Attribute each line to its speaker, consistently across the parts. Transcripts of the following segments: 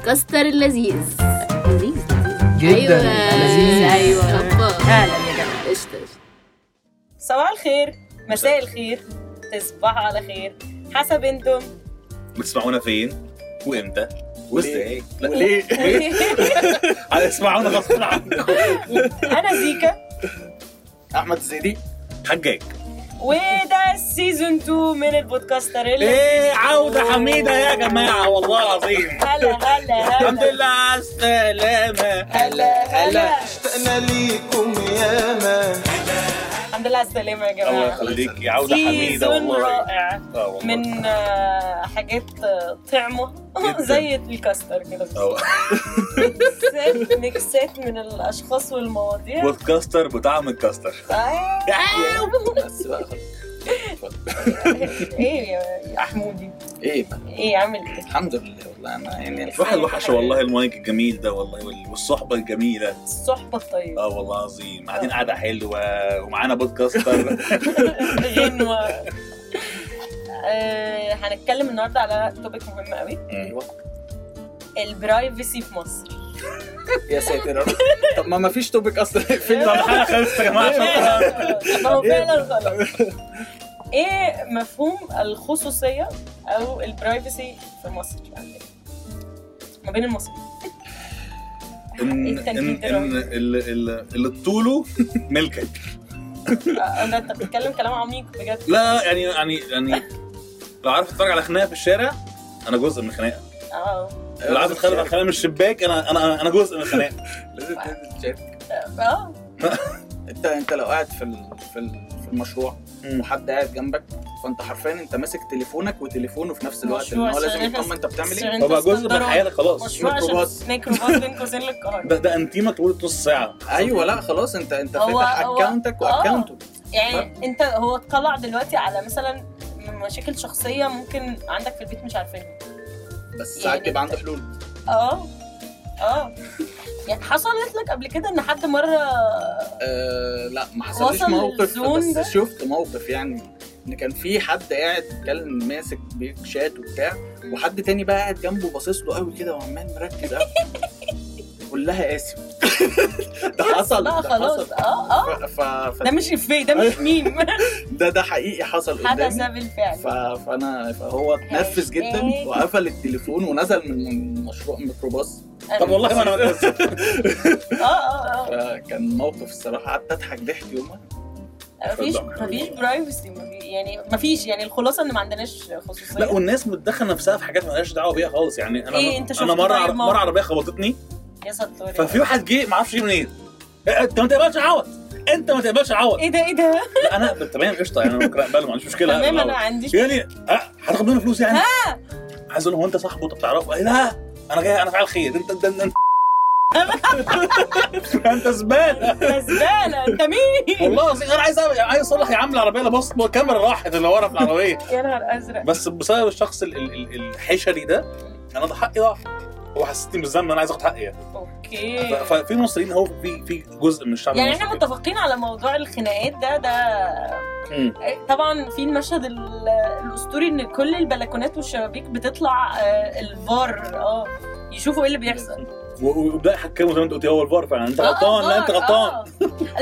Speaker 1: الماستر اللذيذ
Speaker 2: لذيذ
Speaker 3: جدا
Speaker 4: أيوة.
Speaker 5: أيوة.
Speaker 3: لذيذ.
Speaker 1: ايوه ايوه أبا.
Speaker 2: اهلا يا جماعه
Speaker 1: قشطة قشطة.
Speaker 5: صباح الخير مساء الخير تصبحوا على خير حسب انتم
Speaker 6: بتسمعونا فين وامتى وازاي لا،
Speaker 4: ليه؟
Speaker 6: على اسمعونا غصب عنكم
Speaker 5: انا زيكا
Speaker 4: احمد الزيدي
Speaker 6: حجاج
Speaker 5: وده سيزون 2 من البودكاستر اللي
Speaker 6: ايه عوده حميده يا جماعه والله العظيم
Speaker 5: هلا هلا
Speaker 6: الحمد
Speaker 5: هلا
Speaker 6: لله على السلامه
Speaker 4: هلا
Speaker 5: هلا.
Speaker 4: اشتقنا ليكم ياما
Speaker 5: الحمد لله على السلامه يا
Speaker 6: الله
Speaker 5: جماعه
Speaker 6: يخليك يا عوده حميده
Speaker 5: سيزون
Speaker 6: والله
Speaker 5: رائع
Speaker 6: آه، والله.
Speaker 5: من آه، حاجات آه، طعمه
Speaker 6: جداً.
Speaker 5: زي الكاستر كده
Speaker 6: آه.
Speaker 5: ميكسات ميكسات من الاشخاص والمواضيع
Speaker 6: بودكاستر بطعم الكاستر
Speaker 5: آه،
Speaker 6: يعني
Speaker 4: بس بقى خلاص.
Speaker 5: ايه يا حمودي
Speaker 4: ايه بقى
Speaker 5: ايه عامل ايه
Speaker 4: الحمد لله والله انا يعني الف-
Speaker 6: الواحد وحش والله المايك الجميل ده والله وال- والصحبه الجميله
Speaker 5: الصحبه الطيبه
Speaker 6: اه والله العظيم قاعدين قاعده حلوه ومعانا بودكاستر
Speaker 5: غنوه آه، هنتكلم النهارده على توبيك مهم قوي
Speaker 4: ايوه
Speaker 5: البرايفسي في مصر
Speaker 4: يا ساتر طب ما ما فيش توبيك اصلا
Speaker 6: طب
Speaker 4: فين
Speaker 6: الحلقه خلصت يا جماعه شكراً.
Speaker 5: ما هو فعلا غلط ايه مفهوم الخصوصيه او البرايفسي في مصر عندنا؟ ما بين المصريين
Speaker 6: ان
Speaker 5: إيه التجديد
Speaker 6: ان
Speaker 5: ده
Speaker 6: ان ال- ال- اللي طوله ملكك
Speaker 5: آه، ده انت بتتكلم كلام عميق بجد
Speaker 6: لا يعني يعني يعني لو عارف تتفرج على خناقه في الشارع انا جزء من الخناقه
Speaker 5: اه
Speaker 6: لو عارف تتخانق على خناقه من الشباك انا انا انا جزء من الخناقه
Speaker 4: لازم تنزل تشارك
Speaker 5: اه
Speaker 4: انت انت لو قاعد في ال... في ال... في المشروع وحد قاعد جنبك فانت حرفيا انت ماسك تليفونك وتليفونه في نفس الوقت
Speaker 5: مشروع
Speaker 4: ان هو لازم
Speaker 5: عشان-
Speaker 4: يطمن انت بتعمل ايه
Speaker 5: عشان
Speaker 6: هو بقى
Speaker 5: تصدره.
Speaker 6: جزء من حياتك خلاص
Speaker 5: مشروع
Speaker 4: ميكروباص.
Speaker 5: عشان ميكروباص بين قوسين للقاهره
Speaker 6: ده ده انتيمك طول نص ساعه
Speaker 4: ايوه لا خلاص انت انت
Speaker 5: هو-
Speaker 4: فاتح
Speaker 5: هو-
Speaker 4: اكونتك
Speaker 5: آه.
Speaker 4: واكونته
Speaker 5: يعني انت هو اتطلع دلوقتي على مثلا مشاكل شخصيه ممكن عندك في البيت مش عارفينها
Speaker 4: بس
Speaker 5: يعني
Speaker 4: ساعات بيبقى عنده حلول
Speaker 5: اه اه يعني حصلت لك قبل كده ان حد مره
Speaker 4: آه لا ما حصلش
Speaker 5: وصل
Speaker 4: موقف
Speaker 5: للزون
Speaker 4: بس
Speaker 5: ده؟
Speaker 4: شفت موقف يعني ان كان في حد قاعد بيتكلم ماسك بيك شات وبتاع وحد تاني بقى قاعد جنبه باصص له قوي كده وعمال مركز قوي قول لها اسف ده حصل
Speaker 5: بقى
Speaker 4: ده
Speaker 5: خلاص
Speaker 4: حصل.
Speaker 5: اه اه
Speaker 4: ف... ف...
Speaker 5: ده
Speaker 4: ف...
Speaker 5: مش افيه ده مش ميم
Speaker 4: ده ده حقيقي حصل
Speaker 5: حدث
Speaker 4: قدامي
Speaker 5: بالفعل
Speaker 4: ف... فانا فهو اتنرفز جدا
Speaker 5: هاشتاج.
Speaker 4: وقفل التليفون ونزل من مشروع الميكروباص
Speaker 5: أنا-
Speaker 6: طب والله ما انا
Speaker 5: اه اه
Speaker 4: فكان موقف الصراحه قعدت اضحك ضحك يومها
Speaker 5: اه مفيش مفيش برايفسي يعني مفيش يعني الخلاصه ان ما عندناش خصوصيه
Speaker 6: لا والناس متدخله نفسها في حاجات مالهاش دعوه بيها خالص يعني انا
Speaker 5: إيه، أنت شفت
Speaker 6: انا مره
Speaker 5: طيب
Speaker 6: عر-
Speaker 5: موقف؟
Speaker 6: مره عربيه خبطتني
Speaker 5: يا ساتر
Speaker 6: ففي واحد جه ما اعرفش جه منين إيه، انت ما تقبلش عوض انت ما تقبلش عوض
Speaker 5: ايه ده ايه ده
Speaker 6: لا، انا أقبل، تمام قشطه يعني انا ممكن اقبله ما عنديش مشكله
Speaker 5: تمام
Speaker 6: أقبل
Speaker 5: انا عندي
Speaker 6: يعني أه، هتاخد منه فلوس يعني عايز اقول له، هو انت صاحبه انت بتعرفه قال لا انا جاي انا فعل خير انت انت انت انت زباله
Speaker 5: زباله انت مين
Speaker 6: والله العظيم انا عايز أعمل- عايز اصلح يا عم العربيه لا بص الكاميرا راحت اللي ورا في العربيه
Speaker 5: يا نهار ازرق
Speaker 6: بس بسبب الشخص ال- ال- ال- الحشري ده انا ده حقي ضاع هو حسسني بالذنب إن انا عايز اخد حقي يعني.
Speaker 5: اوكي
Speaker 6: ف- ففي مصريين هو في في جزء من الشعب
Speaker 5: يعني
Speaker 6: المصري
Speaker 5: احنا
Speaker 6: كده.
Speaker 5: متفقين على موضوع الخناقات ده ده
Speaker 6: مم.
Speaker 5: طبعا في المشهد ال- الاسطوري ان كل البلكونات والشبابيك بتطلع آه، الفار اه يشوفوا ايه اللي بيحصل
Speaker 6: و- و- وده حكمه زي ما انت قلت هو الفار فعلا انت
Speaker 5: آه،
Speaker 6: غلطان لا انت
Speaker 5: فار،
Speaker 6: غلطان
Speaker 5: آه.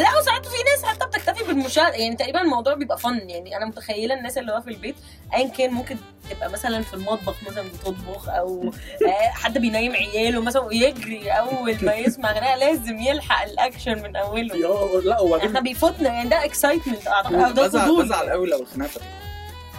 Speaker 5: لا وساعات في ناس حتى بتكتفي بالمشاهده يعني تقريبا الموضوع بيبقى فن يعني انا متخيله الناس اللي هو في البيت ايا كان ممكن تبقى مثلا في المطبخ مثلا بتطبخ او آه، حد بينيم عياله مثلا ويجري اول ما يسمع غناء لازم يلحق الاكشن من
Speaker 6: في-
Speaker 5: اوله
Speaker 6: اه، لا وبعدين
Speaker 5: احنا بيفوتنا يعني ده اكسايتمنت اعتقد او ده
Speaker 4: بزعل
Speaker 5: فضول
Speaker 4: بزعل قوي لو الخناقه فتحت.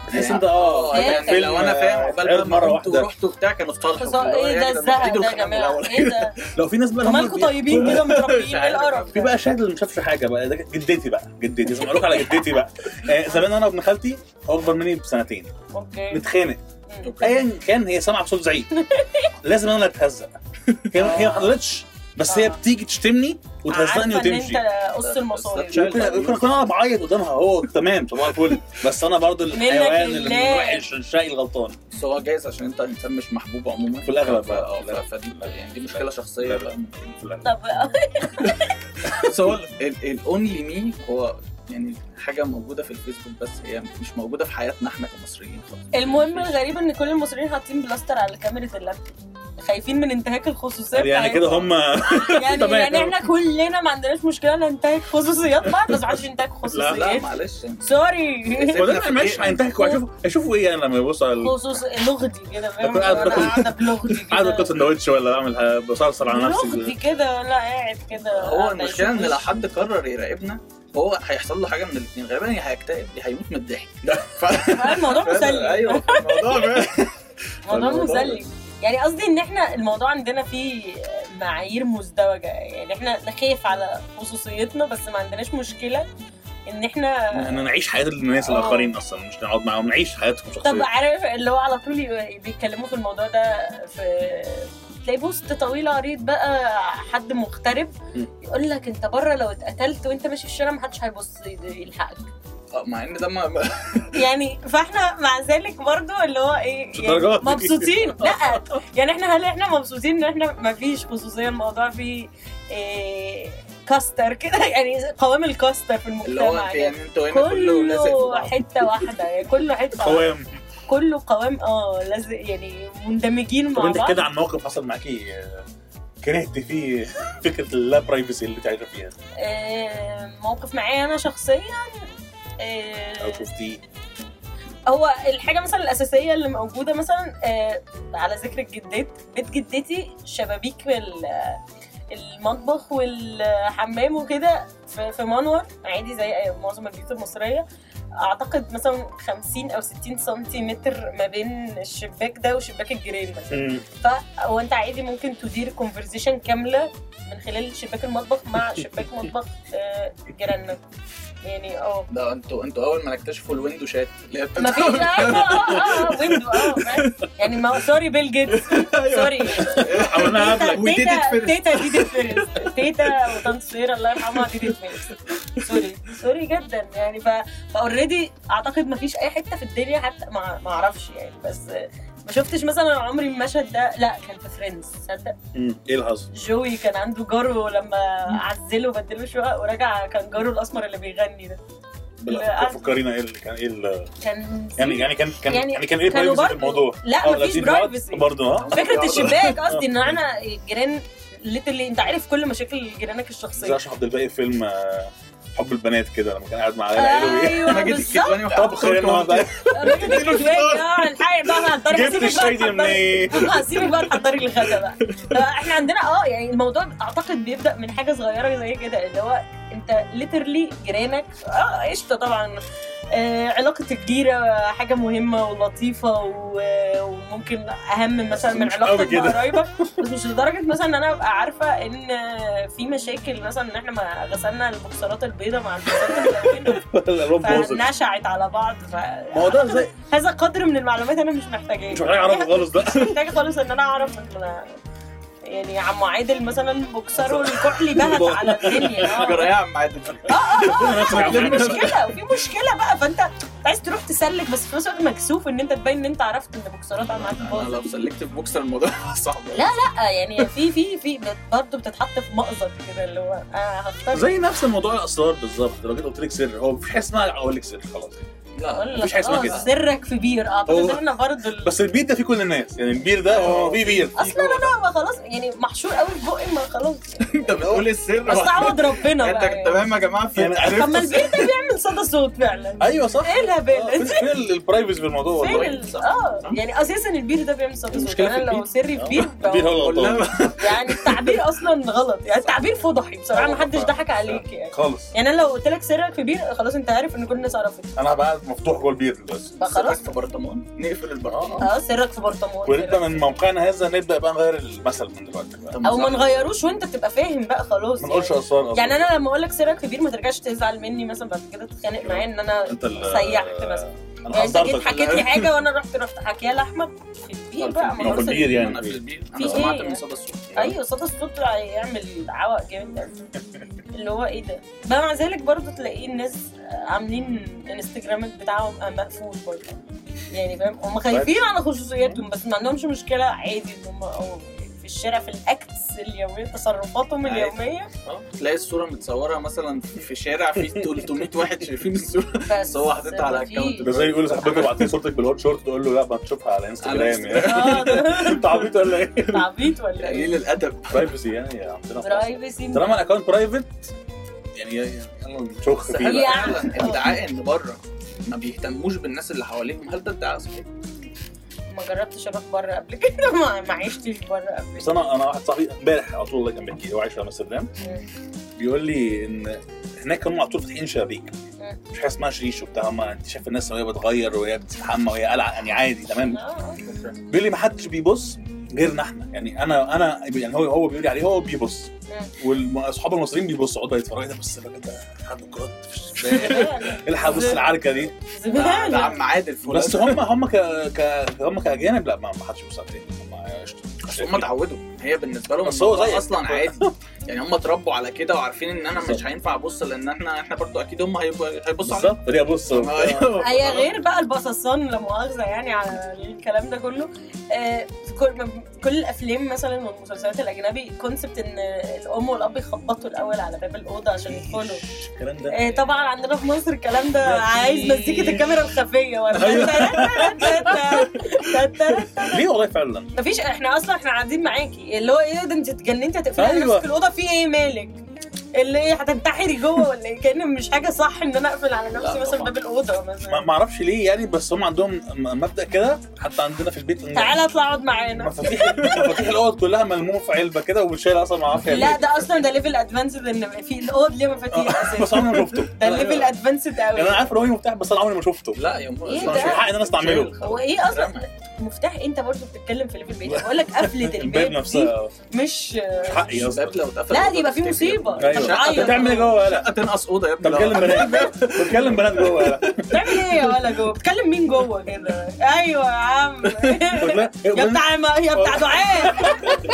Speaker 6: تحس انت اه
Speaker 5: إيه؟
Speaker 6: يعني
Speaker 4: يعني
Speaker 6: فيلم
Speaker 4: لو انا فاهم
Speaker 6: آه،
Speaker 4: عقبال
Speaker 6: عرض
Speaker 4: بقى ما
Speaker 6: مره
Speaker 4: رحت
Speaker 6: واحده
Speaker 4: ورحت وبتاع كانوا يعني اتصالحوا
Speaker 5: ايه
Speaker 6: يعني
Speaker 5: ده الزهق ده يا جماعه ايه ده
Speaker 6: لو في ناس بقى
Speaker 5: انتوا
Speaker 6: لما-
Speaker 5: مالكم طيبين كده متربيين ايه القرف
Speaker 6: في بقى شاهد اللي ما شافش حاجه بقى ده جدتي بقى جدتي اسمع لكم على جدتي بقى آه، زمان انا وابن خالتي هو اكبر مني بسنتين
Speaker 5: اوكي
Speaker 6: متخانق ايا كان هي سامعه بصوت زعيق لازم انا اللي اتهزق هي هي ما حضرتش بس هي
Speaker 5: آه.
Speaker 6: بتيجي تشتمني وتهزقني وتمشي
Speaker 5: عارفه ان انت قص المصايب
Speaker 4: شايف
Speaker 6: ممكن ممكن اكون انا بعيط قدامها هو تمام صباح الفل بس انا برضو الحيوان اللي
Speaker 5: لله.
Speaker 6: الوحش الشقي الغلطان
Speaker 4: بس هو جايز عشان انت انسان مش محبوب عموما
Speaker 6: في الأغلب بقى.
Speaker 4: اه
Speaker 6: في الأغلب.
Speaker 4: ف- فدي يعني دي مشكله شخصيه
Speaker 6: الأغلب.
Speaker 4: بقى
Speaker 6: في الأغلب.
Speaker 5: طب
Speaker 4: بس هو الاونلي مي هو يعني حاجه موجوده في الفيسبوك بس هي مش موجوده في حياتنا احنا كمصريين خالص
Speaker 5: المهم الغريب ان كل المصريين حاطين بلاستر على كاميرا اللابتوب خايفين من انتهاك الخصوصيه
Speaker 6: طب يعني
Speaker 5: بتاعتنا.
Speaker 6: كده هم
Speaker 5: يعني
Speaker 6: تمام.
Speaker 5: يعني احنا كلنا ما عندناش مشكله ننتهك خصوصيات بعض بس ما عادش ننتهك
Speaker 4: لا
Speaker 5: خصوصيات
Speaker 4: معلش
Speaker 5: سوري
Speaker 6: وده مش هينتهكوا اشوفوا اشوفوا ايه انا لما يبص على
Speaker 5: خصوص لغتي كده فاهم
Speaker 6: أكون قاعد
Speaker 5: انا
Speaker 6: باكل-
Speaker 5: قاعده بلغتي كده
Speaker 6: قاعد اكل سندوتش ولا اعمل بصلصل على
Speaker 5: لغتي
Speaker 6: نفسي
Speaker 5: كده لا قاعد كده
Speaker 4: هو المشكله ان لو حد قرر يراقبنا هو هيحصل له حاجه من الاثنين غالبا يا هيكتئب يا هيموت من الضحك ف-
Speaker 5: الموضوع مسلي
Speaker 4: ايوه الموضوع فعلا.
Speaker 5: موضوع
Speaker 4: الموضوع
Speaker 5: مسلي يعني قصدي ان احنا الموضوع عندنا فيه معايير مزدوجه يعني احنا نخاف على خصوصيتنا بس ما عندناش مشكله ان احنا
Speaker 6: ان نعيش حياه الناس
Speaker 5: آه.
Speaker 6: الاخرين اصلا مش نقعد معاهم نعيش حياتهم شخصيا
Speaker 5: طب عارف اللي هو على طول ي- بيتكلموا في الموضوع ده في تلاقي بوست طويل عريض بقى حد مغترب
Speaker 6: مم.
Speaker 5: يقول لك انت بره لو اتقتلت وانت ماشي في الشارع محدش هيبص يلحقك
Speaker 4: آه، مع ان ده ما ما-
Speaker 5: يعني فاحنا مع ذلك برضو اللي هو ايه
Speaker 6: مش
Speaker 5: يعني
Speaker 6: الدرجات دي.
Speaker 5: مبسوطين لا يعني احنا هل احنا مبسوطين ان احنا ما فيش خصوصيه الموضوع فيه إيه كاستر كده يعني قوام الكاستر في
Speaker 4: اللي هو
Speaker 5: المجتمع
Speaker 4: انت
Speaker 5: يعني
Speaker 4: يعني انتوا هنا كله لازق في
Speaker 5: كله
Speaker 4: بعض.
Speaker 5: حته واحده يعني كله حته واحدة.
Speaker 6: قوام
Speaker 5: كله قوام اه لازق يعني مندمجين
Speaker 6: طب
Speaker 5: مع
Speaker 6: انت
Speaker 5: بعض
Speaker 6: كده عن موقف حصل معاكي آه، كرهت فيه فكره اللا برايفسي اللي انت عايشه فيها
Speaker 5: آه، موقف معايا انا شخصيا آه،
Speaker 6: او شفتيه
Speaker 5: هو الحاجه مثلا الاساسيه اللي موجوده مثلا آه، على ذكر الجدات بيت جدتي شبابيك ال- المطبخ والحمام وكده في في منور عادي زي أي- معظم البيوت المصريه اعتقد مثلا 50 او 60 سنتيمتر ما بين الشباك ده وشباك الجيران مثلا فهو انت عادي ممكن تدير كونفرزيشن كامله من خلال شباك المطبخ مع شباك مطبخ آه، جيرانك يعني اه
Speaker 4: ده انتوا انتوا اول ما نكتشفوا الويندو شات اللي هي
Speaker 5: ما فيش
Speaker 4: بتت-
Speaker 5: اه اه اه ويندو اه فاهم؟ يعني ما سوري بيل جيتس سوري
Speaker 6: عملناها قبلك
Speaker 4: وتيتا
Speaker 5: تيتا
Speaker 4: فيرست.
Speaker 5: تيتا دي دي فيرست تيتا وطنط سويرة الله يرحمها دي دي فيرست سوري سوري جدا يعني ف فاوريدي اعتقد ما فيش اي حته في الدنيا حتى ما ما اعرفش يعني بس ما شفتش مثلا عمري المشهد ده لا كان في فريندز تصدق
Speaker 6: مم. ايه اللي حصل؟
Speaker 5: جوي كان عنده جاره لما عزله وبدله شقق ورجع كان جاره الاسمر اللي بيغني ده
Speaker 6: بلا- فكرينا ايه اللي كان ايه اللي
Speaker 5: كان
Speaker 6: يعني يعني كان كان
Speaker 5: يعني
Speaker 6: يعني كان ايه
Speaker 5: كانوا
Speaker 6: برايفسي في
Speaker 5: برضو-
Speaker 6: الموضوع؟
Speaker 5: لا،
Speaker 6: اه،
Speaker 5: مفيش
Speaker 6: لازم نقعد
Speaker 5: privacy.
Speaker 6: برضه ها؟
Speaker 5: فكره الشباك قصدي ان انا الجيران ليترلي انت عارف كل مشاكل جيرانك
Speaker 6: زي
Speaker 5: الشخصيه
Speaker 6: اشرح عبد الباقي في فيلم آه، حب البنات كده لما كان قاعد مع عيال عيلوي
Speaker 5: ايوه
Speaker 4: ماجد
Speaker 5: بالظبط
Speaker 4: الكدواني وحط
Speaker 6: طبخ النهارده إيه،
Speaker 5: الراجل الكدواني، اه الحقيقه بقى هتضرب
Speaker 6: جبت الشاي دي منين؟
Speaker 5: هسيبك بقى تحضري الغدا بقى فاحنا عندنا اه يعني الموضوع اعتقد بيبدا من حاجه صغيره زي كده اللي هو انت ليترلي جيرانك اه قشطه طبعا آه علاقة الجيرة حاجة مهمة ولطيفة و- وممكن أهم مثلا من
Speaker 6: مش قوي
Speaker 5: علاقتك
Speaker 6: كده.
Speaker 5: بقرايبك بس مش لدرجة مثلا إن أنا أبقى عارفة إن في مشاكل مثلا إن إحنا ما غسلنا البوكسرات البيضاء مع البوكسرات الملونة
Speaker 6: الالوان باظت
Speaker 5: فنشعت على بعض ف...
Speaker 6: ما هو ده زي
Speaker 5: هذا قدر من المعلومات انا مش محتاجاه
Speaker 6: مش محتاج اعرفه خالص ده
Speaker 5: مش محتاجه خالص ان انا اعرف ان يعني عم عادل مثلا بوكسره الكحلي بهت على الدنيا آه.
Speaker 4: جرايه عم عادل
Speaker 6: يعني.
Speaker 5: في مشكله وفي مشكله بقى فانت عايز تروح تسلك بس في نفس الوقت مكسوف ان انت تبين ان انت عرفت ان بوكسرات عم عادل
Speaker 4: انا
Speaker 5: باظت
Speaker 4: لو سلكت في بوكسر الموضوع صعب
Speaker 5: لا، لا يعني في في في برضه بتتحط في مأزق كده اللي هو انا هختار
Speaker 6: زي نفس الموضوع الاسرار بالظبط لو جيت قلت لك سر هو مفيش حاجه اسمها اقول لك سر خلاص
Speaker 4: لا
Speaker 6: مفيش حاجة اسمها
Speaker 5: خلاص،
Speaker 6: كده.
Speaker 5: آه، سرك في بير آه، اعتقد
Speaker 6: هو-
Speaker 5: احنا برضه ال-
Speaker 6: بس البير ده في كل الناس يعني البير ده هو في بير
Speaker 5: اصلا انا ما خلاص يعني محشور قوي في بقي ما خلاص
Speaker 4: انت بتقول إيه السر
Speaker 5: بس
Speaker 4: انت
Speaker 5: عوض ربنا بقى يعني.
Speaker 4: تمام يا جماعه في
Speaker 6: يعني
Speaker 5: طب ما
Speaker 4: عرفت
Speaker 5: البيت ده بيعمل صدى صوت فعلا
Speaker 6: ايوه صح
Speaker 5: ايه الهبل
Speaker 6: آه، فين- فين البرايفسي في الموضوع
Speaker 5: فين
Speaker 6: والله
Speaker 5: ال- اه يعني اساسا البير ده بيعمل صدى صوت
Speaker 6: المشكلة في
Speaker 5: يعني انا لو
Speaker 6: البير.
Speaker 5: سري في بير
Speaker 6: البير هو
Speaker 5: فهو-
Speaker 6: اللي غلطان.
Speaker 4: قلنا
Speaker 5: يعني التعبير اصلا غلط يعني التعبير فضحي بصراحه ما
Speaker 6: آه،
Speaker 5: حدش ضحك عليك يعني
Speaker 6: خالص
Speaker 5: يعني انا لو قلت لك سرك في بير خلاص انت عارف ان كل الناس عرفت
Speaker 6: انا بقى مفتوح جوه البير دلوقتي
Speaker 5: فخلاص
Speaker 4: في برطمان نقفل البرطمان
Speaker 5: اه سرك في برطمان
Speaker 6: ونبدا
Speaker 5: سرك.
Speaker 6: من موقعنا هذا نبدا بقى نغير المثل من دلوقتي بقى.
Speaker 4: طب
Speaker 5: او ما
Speaker 4: صح.
Speaker 5: نغيروش وانت تبقى فاهم بقى خلاص
Speaker 6: ما نقولش
Speaker 5: يعني.
Speaker 6: اسرار
Speaker 5: يعني انا لما اقول لك سرك في بير ما ترجعش تزعل مني مثلا بعد كده تتخانق معايا ان انا
Speaker 6: انت ال-
Speaker 5: سيحت مثلا
Speaker 6: انا
Speaker 5: يعني انت جيت
Speaker 6: حضرتك
Speaker 5: حكيت لي حاجه وانا رحت رحت حكيها لاحمد في البير بقى ما
Speaker 6: ما هو إيه؟ في
Speaker 5: خلاص
Speaker 6: البير يعني
Speaker 4: انا في البير
Speaker 5: في
Speaker 4: انا سمعت
Speaker 5: إيه؟
Speaker 4: من صدى الصوت
Speaker 5: ايوه صدى الصوت هيعمل عوق جامد أوي. اللي هو ايه ده بقى مع ذلك برضه تلاقيه الناس عاملين انستجرامات بتاعهم مقفول برضه يعني فاهم هم خايفين على خصوصياتهم بس ما عندهمش مشكله عادي ان هم اه في الشارع في الاكتس اليوميه تصرفاتهم
Speaker 4: عادي.
Speaker 5: اليوميه
Speaker 4: اه تلاقي الصوره متصوره مثلا في شارع فيه 300 واحد شايفين الصوره
Speaker 5: بس
Speaker 4: هو حاططها على
Speaker 5: مفيش.
Speaker 4: account
Speaker 6: ده زي يقول لصاحبتك ابعت لي صورتك بالهوت شورت تقول له لا ما تشوفها على انستجرام يعني
Speaker 5: اه ده
Speaker 6: انت عبيط ولا ايه؟
Speaker 5: أنت عبيط ولا ايه؟
Speaker 4: قليل الادب
Speaker 6: برايفسي يعني عندنا في مصر.
Speaker 5: برايفسي
Speaker 6: طالما الاكونت برايفت يعني يلا نشخ فيه
Speaker 4: هل
Speaker 6: بقى.
Speaker 5: يعني.
Speaker 4: فعلا ادعاء ان بره ما بيهتموش بالناس اللي حواليهم هل ده ادعاء صحيح؟
Speaker 5: ما جربتش اروح بره قبل كده ما ما عشتش بره قبل
Speaker 6: بس انا انا واحد صاحبي امبارح على طول الله كان بيحكي لي، هو عايش في امستردام
Speaker 5: كده
Speaker 6: بيقول لي ان هناك كانوا على طول فاتحين شبابيك مش حاجه اسمها شريش وبتاع ما انت شايف الناس وهي بتغير وهي بتستحمى وهي قلعه يعني عادي تمام
Speaker 5: آه.
Speaker 6: بيقول لي ما حدش بيبص غيرنا احنا يعني انا انا يعني هو هو بيقول لي عليه هو بيبص واصحاب المصريين بيبصوا يقعدوا يتفرجوا إيه ده بص الراجل ده حد كرات في الشارع. الحق بص العركه دي
Speaker 4: ده ده
Speaker 5: زبالة
Speaker 4: عم عادل فلان
Speaker 6: بس هم هم ك ك هم كاجانب لا ما ما حدش بيبص عليهم هم
Speaker 4: بس
Speaker 6: إيه؟
Speaker 4: هم اتعودوا هي بالنسبه لهم
Speaker 6: بس هو
Speaker 4: الموضوع
Speaker 6: زيك.
Speaker 4: اصلا عادي يعني هم اتربوا على كده وعارفين ان انا
Speaker 6: بالظبط.
Speaker 4: مش هينفع ابص لان احنا احنا برضو اكيد هم هيبقوا- هيبصوا عليا
Speaker 6: بالظبط فدي ابص أيوه.
Speaker 5: هي غير بقى البصصان لا مؤاخذه يعني على الكلام ده كله آه كل, كل الافلام مثلا والمسلسلات الاجنبي كونسبت ان الام والاب يخبطوا الاول على باب الاوضه عشان يدخلوا
Speaker 6: الكلام ده
Speaker 5: آه طبعا عندنا في مصر الكلام ده
Speaker 6: مفيش.
Speaker 5: عايز مزيكه الكاميرا الخفيه
Speaker 6: أيوة.
Speaker 5: ولا
Speaker 6: ليه والله فعلا
Speaker 5: مفيش احنا اصلا احنا قاعدين معاكي اللي هو ايه ده انت اتجننتي هتقفلي على
Speaker 6: أيوة.
Speaker 5: نفسك الاوضه في ايه مالك؟ اللي ايه هتنتحري جوه ولا ايه؟ كان مش حاجه صح ان انا اقفل على نفسي
Speaker 4: لا
Speaker 5: مثلا
Speaker 4: طبعاً.
Speaker 5: باب الاوضه
Speaker 6: ما
Speaker 5: مثلا
Speaker 6: ما اعرفش ليه يعني بس هم عندهم م- مبدا كده حتى عندنا في البيت إن
Speaker 5: تعالى اطلع اقعد معانا
Speaker 6: مفاتيح مفاتيح الاوض كلها ملمومه في علبه كده والشايله اصلا ما اعرفش هي
Speaker 5: لا
Speaker 6: ليه.
Speaker 5: ده اصلا ده ليفل ادفانسد ان في الاوض ليه مفاتيح
Speaker 6: بس
Speaker 5: اساسا
Speaker 6: عمري ما شفته
Speaker 5: ده ليفل ادفانسد
Speaker 6: آه. يعني انا
Speaker 5: قوي
Speaker 6: عارف ان هو ليه مفتاح بس انا عمري ما شفته
Speaker 4: لا يا ام
Speaker 5: إيه
Speaker 6: مش
Speaker 5: ده؟
Speaker 6: حق ان انا استعمله
Speaker 5: هو ايه اصلا مفتاح انت برضه بتتكلم في ليفل بعيد بقول لك قفله
Speaker 6: الباب
Speaker 5: الباب دي
Speaker 6: نفسها
Speaker 5: مش
Speaker 6: مش حقي
Speaker 4: الباب
Speaker 6: اصلا
Speaker 4: لو اتقفل
Speaker 5: لا دي يبقى في مصيبه انت
Speaker 6: ايوه انت
Speaker 5: بتعيط
Speaker 6: بتعمل ايه جوه لا
Speaker 4: لا تنقص اوضه يا
Speaker 6: انت
Speaker 4: ابني
Speaker 6: بتكلم بنات بتكلم بنات جوه لا
Speaker 5: بتعمل ايه يا ولا جوه؟ بتكلم مين جوه كده؟ ايوه يا عم يا بتاع ما يا بتاع دعاء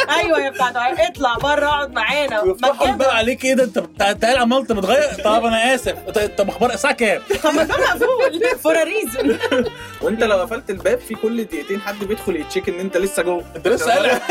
Speaker 5: ايوه يا بتاع دعاء اطلع بره اقعد معانا ما
Speaker 6: ويفتحوا
Speaker 5: تجيب-
Speaker 6: بقى عليك ايه ده انت بتاع- تعال عمال انت متغير طب انا اسف طب- طب اخبار الساعه كام؟
Speaker 5: طب ما ده مقفول فور ريزون
Speaker 4: وانت لو قفلت الباب في كل دقيقتين حد بيدخل يتشيك ان انت لسه جوه
Speaker 6: انت لسه قلق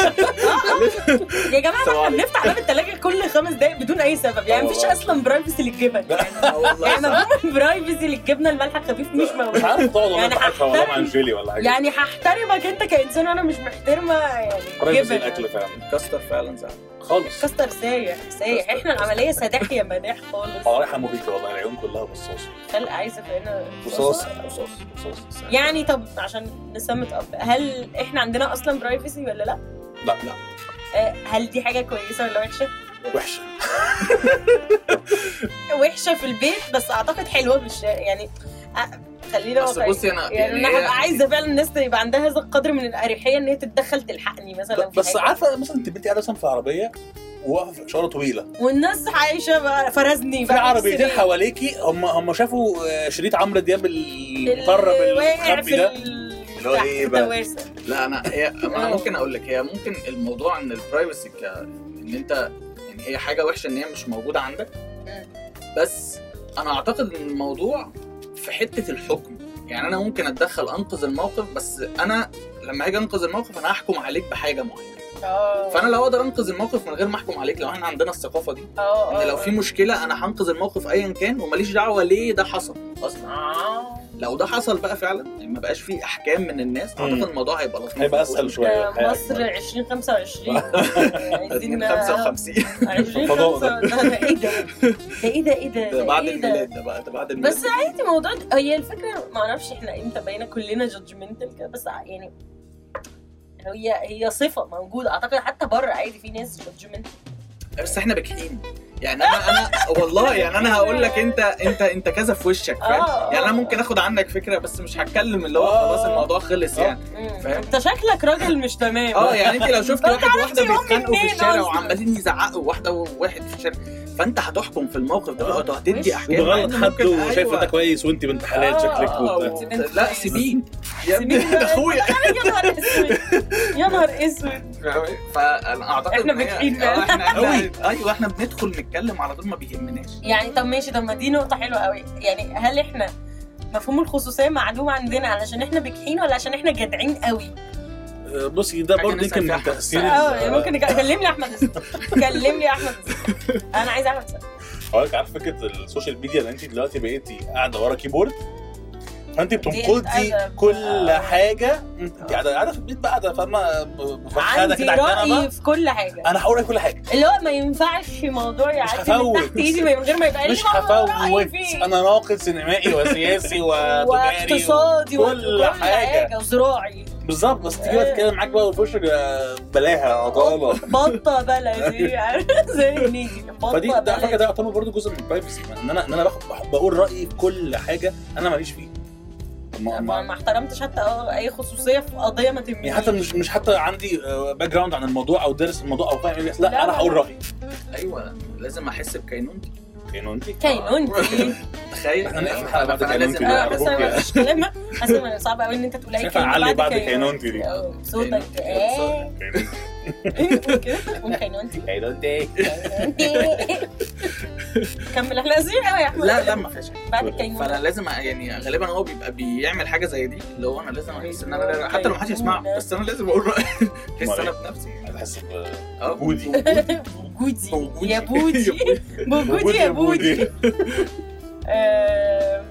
Speaker 5: يا جماعه ما احنا
Speaker 4: طبعاً.
Speaker 5: بنفتح باب الثلاجه كل خمس دقائق بدون اي سبب
Speaker 6: آه،
Speaker 5: يعني مفيش اصلا برايفسي للجبن يعني
Speaker 4: آه والله
Speaker 5: يعني
Speaker 4: صح.
Speaker 5: مفهوم البرايفسي للجبنه المالحه الخفيف مش
Speaker 6: مش
Speaker 5: موجود
Speaker 6: عارف طول والله
Speaker 5: يعني
Speaker 6: ما حاجه والله مع
Speaker 5: هحترم.
Speaker 6: انجيلي ولا حاجه
Speaker 5: يعني هحترمك انت كانسان وانا مش محترمه يعني
Speaker 6: قريب
Speaker 5: جبن
Speaker 6: الاكل فعلا
Speaker 4: كاستر فعلا صح
Speaker 6: خالص
Speaker 5: كاستر سايح سايح احنا العمليه سداح يا مداح خالص
Speaker 6: اه ريحه مبيكه والله العيون كلها بصاصه
Speaker 5: خلق عايزه فينا
Speaker 6: رصاص رصاص رصاص
Speaker 5: يعني طب عشان نسمت اب هل احنا عندنا اصلا برايفسي ولا لا؟
Speaker 6: لا لا
Speaker 5: آه، هل دي حاجه كويسه ولا وحشه؟
Speaker 6: وحشه
Speaker 5: وحشه في البيت بس اعتقد حلوه في الشارع يعني آه، خلينا
Speaker 4: بس
Speaker 5: واقعيين.
Speaker 4: بصي انا
Speaker 5: يعني انا
Speaker 4: هي-
Speaker 5: هبقى عايزه فعلا الناس يبقى عندها هذا القدر من الاريحيه ان هي تتدخل تلحقني مثلا في
Speaker 6: بس
Speaker 5: حاجة.
Speaker 6: عارفه مثلا انت بنتي قاعده مثلا في عربيه وواقفه في اشاره طويله
Speaker 5: والناس عايشه بقى فرزني
Speaker 6: في
Speaker 5: بقى
Speaker 6: عربيتين
Speaker 5: بيكسر
Speaker 6: حواليكي هم هم شافوا آه، شريط عمرو دياب
Speaker 5: إيه؟
Speaker 6: المطرب
Speaker 5: واقع
Speaker 6: الخفي
Speaker 5: في
Speaker 6: ده
Speaker 5: ال-
Speaker 6: اللي هو إيه بقى؟
Speaker 5: التوارث.
Speaker 4: لا انا هي انا
Speaker 5: آه.
Speaker 4: ممكن اقول لك هي ممكن الموضوع ان البرايفسي ك ان انت يعني هي حاجه وحشه ان هي مش موجوده عندك بس انا اعتقد ان الموضوع في حته الحكم يعني انا ممكن اتدخل انقذ الموقف بس انا لما هاجي انقذ الموقف انا هحكم عليك بحاجه معينه
Speaker 5: اه
Speaker 4: فانا لو اقدر انقذ الموقف من غير ما احكم عليك لو احنا عندنا الثقافه دي
Speaker 5: اه
Speaker 4: ان لو في مشكله انا هنقذ الموقف ايا كان وماليش دعوه ليه ده حصل اصلا
Speaker 5: آه.
Speaker 4: لو ده حصل بقى فعلا يعني ما بقاش فيه احكام من الناس
Speaker 6: مم.
Speaker 4: اعتقد الموضوع هيبقى لطيف
Speaker 6: هيبقى اسهل شويه
Speaker 5: ده آه، مصر 2025
Speaker 4: اتنين
Speaker 5: يعني عايزين
Speaker 4: 55
Speaker 5: عايزين
Speaker 6: فضاء
Speaker 5: خمسة- ده ده ايه ده؟ ده ايه ده ايه ده؟
Speaker 4: ده بعد
Speaker 5: إيه ده؟
Speaker 4: الميلاد ده بقى ده بعد الميلاد
Speaker 5: بس عادي موضوع د- هي الفكره ما اعرفش احنا امتى بقينا كلنا جادجمنتال كده بس ع- يعني هي هي صفه موجوده اعتقد حتى بره عادي في ناس جادجمنتال
Speaker 4: بس احنا بكحين يعني انا انا والله يعني انا هقول لك انت انت انت كذا في وشك
Speaker 5: آه، آه.
Speaker 4: فاهم يعني انا ممكن اخد عنك فكره بس مش هتكلم اللي هو
Speaker 6: آه.
Speaker 4: خلاص الموضوع خلص
Speaker 6: آه.
Speaker 4: يعني فاهم؟
Speaker 5: انت شكلك راجل مش تمام
Speaker 4: اه يعني انت لو شفت واحد
Speaker 5: آه. عرفتي
Speaker 4: وواحده
Speaker 5: هم
Speaker 4: بيتخانقوا في
Speaker 5: منين
Speaker 4: الشارع
Speaker 5: أصلاً؟
Speaker 4: وعمالين يزعقوا واحده وواحد في الشارع فانت هتحكم في الموقف ده بقى وهتدي احكام
Speaker 6: وبغلط
Speaker 4: مع إن
Speaker 6: حد
Speaker 4: ممكن-
Speaker 6: وشايف
Speaker 4: أيوة.
Speaker 6: انت كويس وانت بنت حلال
Speaker 5: آه،
Speaker 6: شكلك
Speaker 5: آه،
Speaker 6: وبتاع.
Speaker 5: وبت-
Speaker 4: آه، لا سيبين يا ابني
Speaker 5: سيبيني بقى.
Speaker 4: ده اخويا
Speaker 5: يا نهار اسود يا نهار اسود
Speaker 4: فانا اعتقد
Speaker 5: إحنا
Speaker 4: إن هي-
Speaker 5: بكحين
Speaker 4: آه،
Speaker 5: فعلاً.
Speaker 4: احنا إحنا- ايوه احنا بندخل نتكلم على طول ما بيهمناش
Speaker 5: يعني طب ماشي طب ما دي نقطه حلوه قوي يعني هل احنا مفهوم الخصوصيه معدوم عندنا علشان احنا بجحين ولا عشان احنا جدعين قوي
Speaker 6: آه، بصي ده
Speaker 4: حاجة
Speaker 6: برضه
Speaker 4: نسأل
Speaker 6: يمكن
Speaker 4: فيها
Speaker 6: من
Speaker 4: أحمد
Speaker 6: تاثير
Speaker 5: اه
Speaker 6: ال-
Speaker 5: يعني ممكن نك- كلمني احمد السقا. كلمني احمد السقا. انا عايز احمد السقا.
Speaker 6: حضرتك عارف فكره السوشيال ميديا ان انت دلوقتي بقيتي قاعده ورا كيبورد فانت بتنقضي
Speaker 5: قاعدة-
Speaker 6: كل
Speaker 5: آه.
Speaker 6: حاجه انت قاعده قاعده في البيت بقى قاعده فاهمه مفخده
Speaker 5: عندي
Speaker 6: كده على الكنبه
Speaker 5: راي في كل حاجه
Speaker 6: انا هقول لك كل حاجه
Speaker 5: اللي هو ما ينفعش موضوع يعدي من
Speaker 6: هفوت.
Speaker 5: تحت ايدي من غير ما يبقى لي
Speaker 6: مش
Speaker 5: برضه رأي
Speaker 6: هفوت
Speaker 5: فيه.
Speaker 6: انا ناقد سينمائي وسياسي وتجاري
Speaker 5: واقتصادي
Speaker 6: كل حاجه
Speaker 5: وزراعي
Speaker 6: بالظبط بس تيجي بقى تتكلم معاك بقى وفي وشك آه، بلاها يا
Speaker 5: آه،
Speaker 6: طالة
Speaker 5: بطه بلدي عارف؟ زي نيجي بطه
Speaker 6: فدي ده على فكره
Speaker 5: بلدي
Speaker 6: ده يعتبر برضه جزء من يعني البرايفسي ان انا ان انا باخد بح- بقول رايي في كل حاجه انا ماليش فيه ما-
Speaker 5: ما
Speaker 6: ما-
Speaker 5: ما احترمتش حتى أه اي خصوصيه في قضيه ما تهمنيش
Speaker 6: يعني حتى مش مش حتى عندي باك جراوند عن الموضوع او دارس الموضوع او فاهم ايه اللي بيحصل. لا
Speaker 5: لا،
Speaker 6: انا
Speaker 5: لا.
Speaker 6: هقول رايي
Speaker 4: ايوه لازم احس بكينونتي
Speaker 6: فين انت؟
Speaker 5: كينونتي
Speaker 4: تخيل
Speaker 6: احنا نقفل الحلقة بعد
Speaker 4: فأنا
Speaker 6: كينونتي
Speaker 4: لازم آه،
Speaker 5: انا
Speaker 6: بقى.
Speaker 4: أعرف.
Speaker 5: بس انا ما فيش كلام حاسه إن صعب قوي ان انت تقول اي
Speaker 6: شايف علي بعد كينونتي دي.
Speaker 5: أه، صوتك ايه
Speaker 4: كينونتي.
Speaker 5: كده تقول كينونتي
Speaker 6: فين انت؟
Speaker 5: كمل احنا قاسيين قوي يا احمد
Speaker 4: لا لا ما فيهاش
Speaker 5: بعد الكينونتي
Speaker 4: فانا أيوة. لازم أ- يعني غالبا هو بيبقى بيعمل حاجه زي دي اللي هو انا لازم احس ان انا حتى لو محدش يسمعه بس انا لازم اقول رايي احس انا بنفسي
Speaker 6: هتحس ب-
Speaker 4: اه
Speaker 6: وجودي.
Speaker 5: بوجودي
Speaker 4: بوجودي.
Speaker 5: يا بودي بوجودي يا بودي آم، Euh,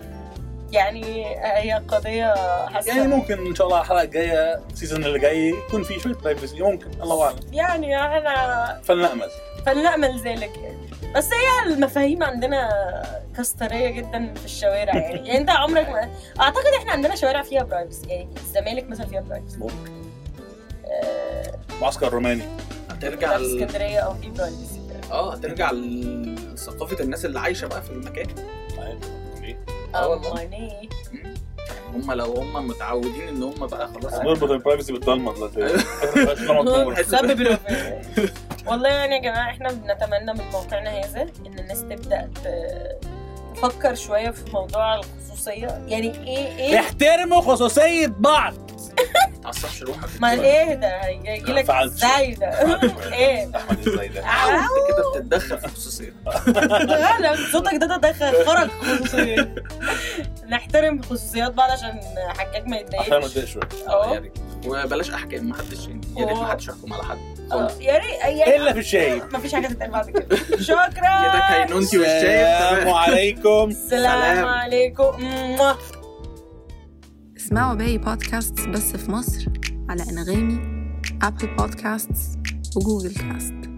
Speaker 5: يعني هي قضية حاسة
Speaker 6: يعني ممكن ان شاء الله الحلقه الجايه السيزون اللي جاي يكون في شويه برايفسي ممكن الله اعلم
Speaker 5: يعني احنا
Speaker 6: فلنامل
Speaker 5: فلنأمل ذلك يعني بس هي المفاهيم عندنا كسترية جدا في الشوارع يعني يعني انت عمرك ما اعتقد احنا عندنا شوارع فيها برايفسي يعني الزمالك مثلا فيها برايفسي
Speaker 6: ممكن.
Speaker 5: آه،
Speaker 6: معسكر روماني يعني
Speaker 4: هترجع
Speaker 5: في
Speaker 4: ل-
Speaker 5: اسكندرية او في برايفسي
Speaker 6: آه،
Speaker 4: اه هترجع لثقافه الناس اللي عايشه بقى في المكان آه والله.
Speaker 5: أماني
Speaker 4: هم لو هم متعودين ان هم بقى خلاص
Speaker 6: نربط البرايفسي بالضلمه دلوقتي
Speaker 5: سبب الوفاة. والله يعني يا جماعة احنا بنتمنى من موقعنا هذا ان الناس تبدأ ت- تفكر شوية في موضوع الخصوصية يعني ايه ايه
Speaker 6: احترموا خصوصيه بعض
Speaker 4: ما تعصبش روحك
Speaker 5: ما ايه ده هيجيلك
Speaker 6: فعلت.
Speaker 5: ازاي ده ايه
Speaker 6: احمد ازاي ده
Speaker 5: عاو.
Speaker 4: انت كده بتتدخل في خصوصيه
Speaker 5: لا لا صوتك ده تدخل خرج خصوصية نحترم خصوصيات بعض عشان حاجاك ما
Speaker 6: عشان ما يعني
Speaker 5: يتضايقش
Speaker 6: اتضايق شويه
Speaker 4: اه يا
Speaker 5: اه
Speaker 4: ريت وبلاش احكام ما حدش يا ريت ما حدش يحكم على حد
Speaker 5: آه. يا ريت يعني
Speaker 6: الا في الشاي
Speaker 5: مفيش حاجة تتقال بعد كده شكرا
Speaker 4: كده كينونتي والشايب
Speaker 6: السلام عليكم
Speaker 5: السلام
Speaker 4: سلام.
Speaker 5: عليكم موah.
Speaker 1: اسمعوا باقي بودكاستس بس في مصر على انغامي ابل بودكاستس وجوجل كاست